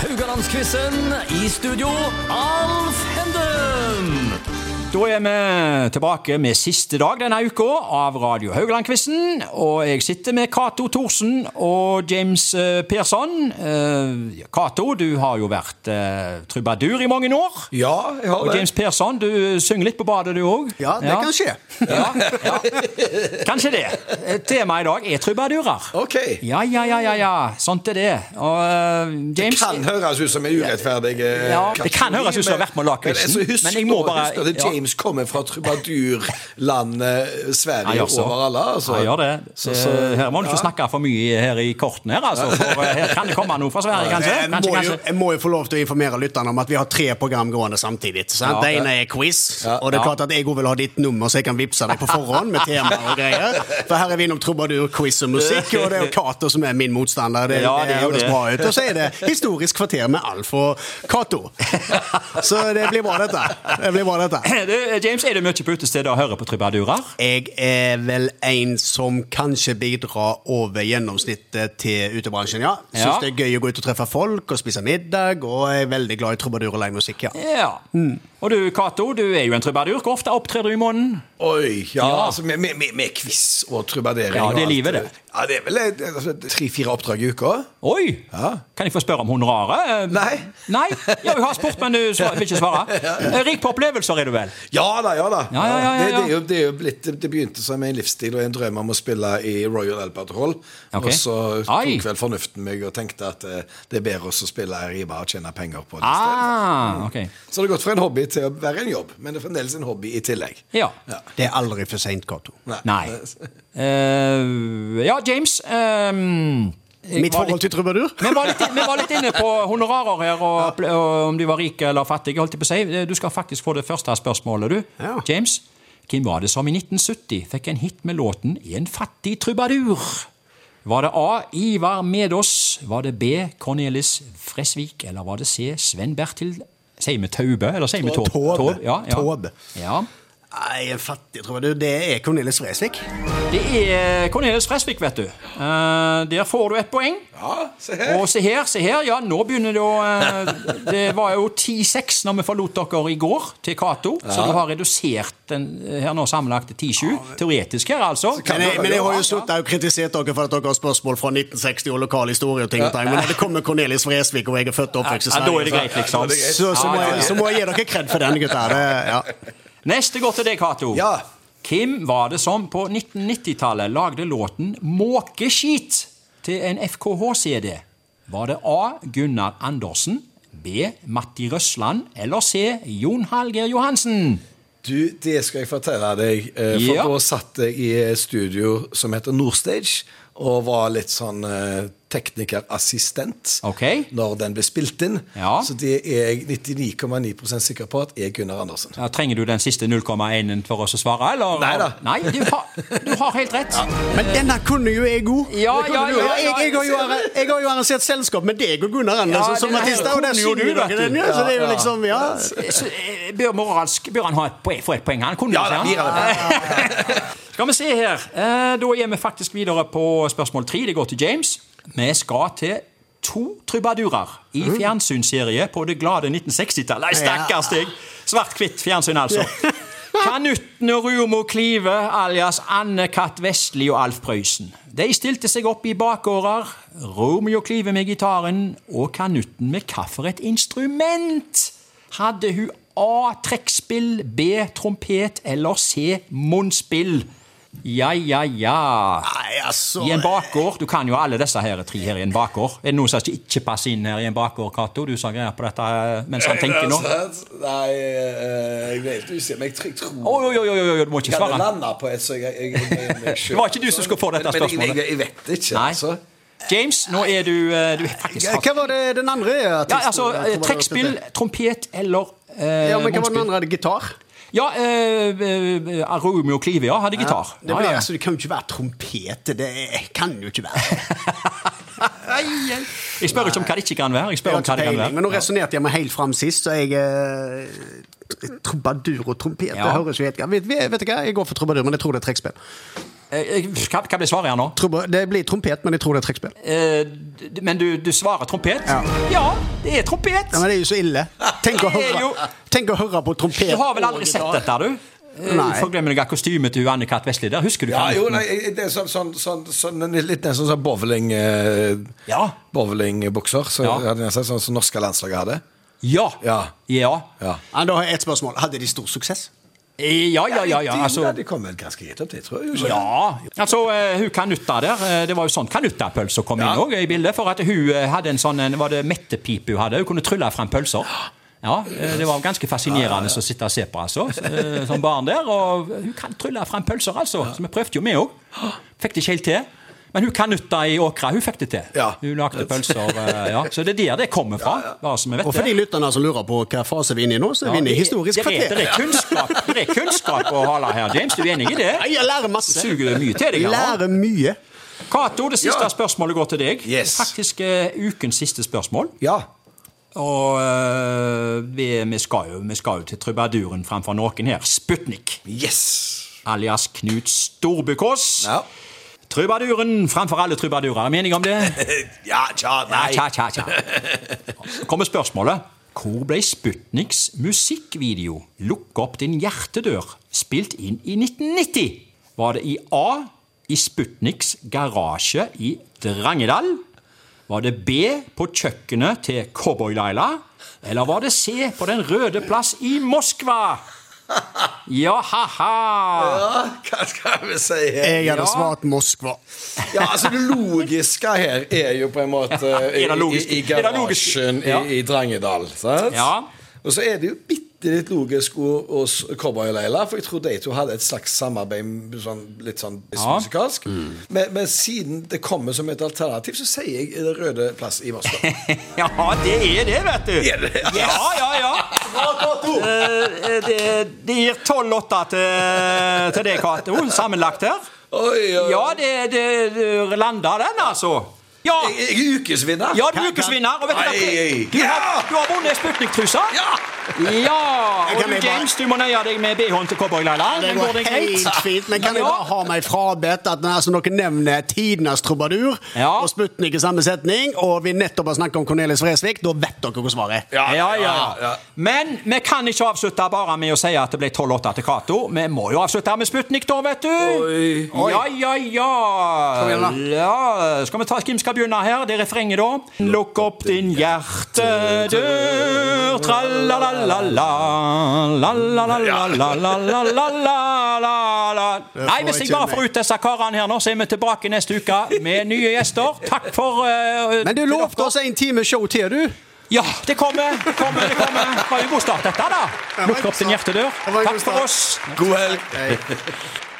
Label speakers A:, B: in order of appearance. A: Haugalandsquizen i studio, Alf Henden!
B: Da er vi tilbake med siste dag denne uka av Radio Haugland-quizen. Og jeg sitter med Cato Thorsen og James eh, Persson. Eh, Cato, du har jo vært eh, trubadur i mange år.
C: Ja, jeg har
B: Og
C: det.
B: James Persson, du synger litt på badet, du òg?
D: Ja, det kan skje.
B: Ja, ja. Kanskje det. Eh, Temaet i dag er trubadurer.
C: Ok.
B: Ja, ja, ja, ja, ja. Sånt er det. Og eh, James
C: Kan høres ut som en urettferdig eh,
B: Ja, det
C: kategori,
B: kan høres
C: men-
B: ut som det har vært med å lage
C: men jeg
B: quizen,
C: husker-
B: men jeg må bare-
C: husker at
B: ja.
C: James kommer fra trubadurlandet
B: Han
C: eh, Sverige
B: gjør så.
C: over alle. Altså.
B: Han gjør det.
C: Så, så,
B: Eh, her må du ikke
C: ja.
B: snakke for mye her i kortene, her, altså, for eh, her kan det komme noe fra Sverige, kanskje?
D: Jeg
B: kanskje,
D: må, jo,
B: kanskje.
D: jeg må jo få lov til å informere lytterne om at vi har tre program gående samtidig. Sant? det ene er quiz, og det er klart at jeg også vil ha ditt nummer, så jeg kan vippse deg på forhånd med tema og greier. For her er vi innom trubadur, quiz og musikk, og det er jo Cato som er min motstander. Det,
B: Ja, det
D: det
B: er jo
D: høres
B: det.
D: bra ut. Og så er det Historisk kvarter med Alf og Cato. Så det blir bra, dette. Det blir bra, dette.
B: Du, eh, James, er du mye på utestedet og hører på trubadurer?
D: Jeg er vel en som kanskje bidrar over gjennomsnittet til utebransjen, ja. Syns
B: Ja.
D: det er gøy å gå ut og treffe folk og spise middag, og er veldig glad i trubadur og livemusikk, ja.
B: Ja. Mm. Og du, Cato, du er jo en trubadur. Hvor ofte opptrer du i måneden?
C: Oi, ja,
B: Ja.
C: Altså, med, med, med, med quiz og trubadering.
B: Ja,
C: og
B: det er
C: alt.
B: livet, det.
C: Ja, det er vel eh, altså, tre-fire oppdrag i uka.
B: Oi!
C: Ja.
B: Kan jeg få spørre om honoraret? Eh,
C: Nei.
B: Nei? Ja, jeg har spurt, men du svar- vil ikke svare. Eh, Rik på opplevelser, er du vel?
C: Ja da, ja da.
B: Ja, ja, ja,
C: Det,
B: ja,
C: det, er
B: ja.
C: jo, det, er jo blitt, det begynte som en livsstil og en drøm om å spille i Royal Albert Hall.
B: Ok.
C: Og så
B: Ai.
C: tok vel fornuften meg og tenkte at eh, det er bedre å spille i Riba og tjene penger på det.
B: Ah, ok.
C: Så det har gått fra en hobby til å være en jobb, men det er fremdeles en hobby i tillegg.
B: Ja.
D: Det er aldri for seint, Cato.
B: Nei. Eh, ja, James. ehm, jeg
D: Mitt
B: var litt-
D: forhold til trubadur?
B: Vi var, litt, vi var litt inne på honorarer her, og, og om de var rike eller fattige. holdt jeg på å si. Du skal faktisk få det første spørsmålet, du.
D: Ja.
B: James, hvem var det som i 1970 fikk en hit med låten 'En fattig trubadur'? Var det A. Ivar Medås? Var det B. Cornelis Fresvik? Eller var det C. Sven Bertil Sier vi Taube, eller sier vi Tåb?
D: Taube.
B: Ja, ja.
D: Taube.
B: Ja.
D: Nei, en fattig trubadur, det er Cornelis Fresvik.
B: Det er Cornelis Fresvik, vet du. Eh, der får du et poeng.
C: Ja, se her.
B: Og se her, se her, ja, nå begynner det å eh, Det var jo 10-6 når vi forlot dere i går til Cato, så du har redusert den eh, her nå sammenlagt til 10-7. Teoretisk her, altså.
D: Men jeg, men jeg har jo sittet her og kritisert dere for at dere har spørsmål fra 1960 og lokal historie og ting og tang, men når det kommer Cornelis Fresvik, og jeg er født og oppvokst i
B: Ja, da er det
D: Sverige,
B: greit, liksom.
D: så, så, må jeg, så må jeg gi dere kred for den, gutta. Det, ja.
B: Neste går til deg, Cato.
C: Ja.
B: Hvem var det som på 1990-tallet lagde låten 'Måkeskit' til en FKH-CD? Var det A. Gunnar Andersen? B. Matti Røsland? Eller C. Jon Hallgeir Johansen?
C: Du, det skal jeg fortelle deg. eh, For
B: Ja.
C: da satt jeg i et studio som heter Nordstage, og var litt sånn eh, teknikerassistent
B: Ok.
C: når den ble spilt inn.
B: Ja.
C: Så det er jeg 99,9 sikker på at er Gunnar Andersen.
B: Ja, trenger du den siste 0,1-en for oss å svare, eller?
C: Neida.
B: Nei, du har, du har helt rett.
D: Men denne kunne jo jeg god.
B: Ja,
D: Det kunne
B: ja,
D: du jo.
B: ja,
D: Jeg,
B: ja.
D: jeg, har jo, arra- jeg har jo arrangert selskap med deg og Gunnar Andersen
B: Ja,
D: som
B: det er-
D: artister, og der
B: kunne jo
D: synger
B: du, vet
D: dere den, ja.
C: du.
D: Så det er jo
C: Ja, ja.
D: liksom, ja.
B: Så, eh, bør, moralsk, bør han ha et poeng, få et poeng? Han kunne
C: Ja,
B: ikke,
C: da,
B: han?
C: gir han det.
B: Skal vi se her. Eh, Da er vi faktisk videre på spørsmål tre. Det går til James. Vi skal til to trubadurer i fjernsynsserie på det glade 1960-tallet. Nei, stakkars deg! Svart-hvitt fjernsyn, altså. Kanutten og Rumo Klive alias Anne-Kat. Vestli og Alf Prøysen. De stilte seg opp i bakgårder. Romeo Klive med gitaren og Kanutten med hva for et instrument? Hadde hun A. Trekkspill, B. Trompet eller C. Munnspill? Ja, ja, ja.
D: Nei, altså.
B: I en bakgård. Du kan jo alle disse her tre her i en bakgård. Er det noen som ikke passer inn her i en bakgård, Cato? Du sa greier på dette eh, mens han tenker nå.
C: Nei, eh, jeg ble helt usikker, men jeg tr- jeg tror
B: Oi, oi, oi, oi, oi, du må ikke
C: Jeg hadde
B: svare.
C: landa på et, så jeg, jeg, jeg, jeg, jeg
B: Det var ikke du som skulle få
C: Men-
B: dette
C: men jeg-
B: spørsmålet.
C: Jeg, jeg vet ikke,
B: Nei.
C: altså.
B: James, nå er du, eh, du er faktisk
D: Hva var det den andre artisten?
B: Ja, altså, eh, Trekkspill, trompet eller eh,
D: Ja, men hva var den
B: munnspill.
D: andre? Er det Gitar?
B: Ja, eh, eh, Romeo Clive, Ah, ja, hadde gitar.
D: Det, ble, altså, det kan jo ikke være trompet. Det kan jo ikke være.
B: Jeg spør ikke om hva det ikke kan være. Jeg
D: Jeg
B: spør
D: har
B: om hva
D: ikke
B: det kan
D: peiling, men nå
B: være.
D: resonnerte jeg meg helt fram sist, så jeg eh, Trubadur og trompet,
B: Ja.
D: det høres jo helt vet, vet, vet du hva, jeg går for trubadur, men jeg tror det er trekkspill.
B: Eh, Hva, hva blir svaret her nå?
D: Trompe- Det blir trompet, men jeg tror det er trekkspill.
B: Eh, d- Men du, du svarer trompet?
D: Ja.
B: det er trompet!
D: Ja, men det er jo så ille. Tenk å
B: Det er
D: høre,
B: jo-
D: tenk å høre på trompet.
B: Du har vel aldri
D: og
B: sett dette,
D: gitar.
B: du? Eh,
D: Nei.
B: Forglemmer du kostymet til Anne Katt Vestli der? Husker du
C: Ja,
B: hva-
C: jo, nei, det er sånn, sånn, sånn, sånn litt nesten sånn bowling eh,
B: Ja.
C: Bowlingbukser, som
B: Ja.
C: jeg hadde nesten, sånn som norske landslaget hadde.
B: Ja.
C: Ja.
B: Ja.
C: Ja.
D: Ja, da har jeg et spørsmål. Hadde de stor suksess?
B: Eh, ja, ja, ja, ja.
C: de,
B: Altså,
C: de kom vel ganske gitt opp, det tror jeg jo ikke.
B: Ja, altså eh, hun Kanutta der, eh, det var jo sånn Kanuttapølse som kom inn også i bildet, for at hun eh, hadde en sånn, en- var det mettepipe hun hadde, hun kunne trylle frem pølser. Ja, eh, det var ganske fascinerende å sitte og se på, altså, eh, som barn der, og hun kan trylle frem pølser, altså, så vi prøvde jo med også. Fikk det ikke helt til. Men hun Kanutta i Åkra, hun fikk det til.
C: Ja.
B: Hun lagde pølser, eh, ja. Så det er der det kommer fra, bare så vi vet
D: Og for
B: det.
D: de lytterne som lurer på hva fase vi er inne i nå, så er vi inne i
B: det,
D: historisk
B: er- det
D: kvarter.
B: er kunnskap, det er kunnskap å holde her, James, du er enig i det?
D: Ja, Jeg lærer
B: Det
D: masse.
B: suger mye til deg. Harald.
D: Lærer mye.
B: Cato, det siste
C: Ja.
B: spørsmålet går til deg.
C: Yes.
B: Faktisk eh, ukens siste spørsmål.
C: Ja.
B: Og eh, vi, vi, skal jo, vi skal jo til trubaduren framfor noen her. Sputnik,
C: Yes!
B: alias Knut Storbukås.
C: Ja.
B: Trubaduren framfor alle trubadurer. Er det mening om det?
C: Ja, tja,
B: Ja,
C: nei.
B: tja, tja, tja. Så kommer spørsmålet. Hvor ble Sputniks musikkvideo 'Lukk opp din hjertedør' spilt inn i 1990? Var det i A. I Sputniks garasje i Drangedal? Var det B. På kjøkkenet til Cowboy-Laila? Eller var det C. På Den røde plass i Moskva? Ja, ha-ha!
C: Ja, hva skal vi si her?
D: Jeg hadde
B: Eh, Ja.
D: svart Moskva.
C: Ja, altså Det logiske her er jo på en måte i,
B: Er
C: i,
B: det logisk?
C: i
B: Er det logisk?
C: garasjen i,
B: Ja.
C: i Drangedal. Sant?
B: Ja.
C: Og så er det jo bitte litt logisk ho- hos Cowboy-Leila, for jeg tror de to hadde et slags samarbeid m- sånn, litt sånn
B: Ja.
C: musikalsk. Mm. Men, men siden det kommer som et alternativ, så sier jeg Den røde plass i Moskva.
B: Ja, det er det, vet du.
C: Er det det?
B: Ja, ja, ja. Eh, eh, det, det gir 12-8 til, til deg, Cato, sammenlagt her.
C: Oi, oi.
B: Ja, det, det, det landa den, altså. Ja,
C: Jeg- Jeg er ukesvinner.
B: ja du er ukesvinner. Og vet du hva?
C: Nei.
B: Du har, du har vunnet Sputnik-trusa.
C: Ja.
B: Ja,
D: Jeg
B: Og
D: kan
B: du,
D: bare-
B: James, du må nøye deg med BH-en til Cowboy-Laila.
D: Det
B: Den går
D: går
B: deg greit.
D: helt fint, men kan jeg
B: Ja.
D: bare ha meg frabedt at når som dere nevner tidenes trubadur
B: Ja.
D: og Sputnik i samme setning, og vi nettopp har snakket om Cornelis Fresvik, da vet dere hvor svaret er.
B: Ja, ja,
C: ja, ja.
B: Men vi kan ikke avslutte bare med å si at det ble 12-8 til Cato. Vi må jo avslutte med Sputnik, da, vet du.
C: Oi.
B: Ja, ja, ja.
D: Kom
B: ja. Skal vi ta hvem skal begynne her? Det er refrenget, da. Lukk opp din hjertedør, tralalalala, la-la-la-la-la-la-la-la-la. Nei, hvis jeg bare får ut disse karene her nå, så er vi tilbake neste uke med nye gjester. Takk for eh,
D: Men du lovte oss en time show til, du.
B: ja, det kommer! det kommer, det kommer. Det var jo en god start, dette, da.
D: var en
B: Lukk
D: god
B: opp din
D: start.
B: hjertedør.
D: Det var en
B: Takk
D: god
B: for
D: start.
B: oss.
C: God helg.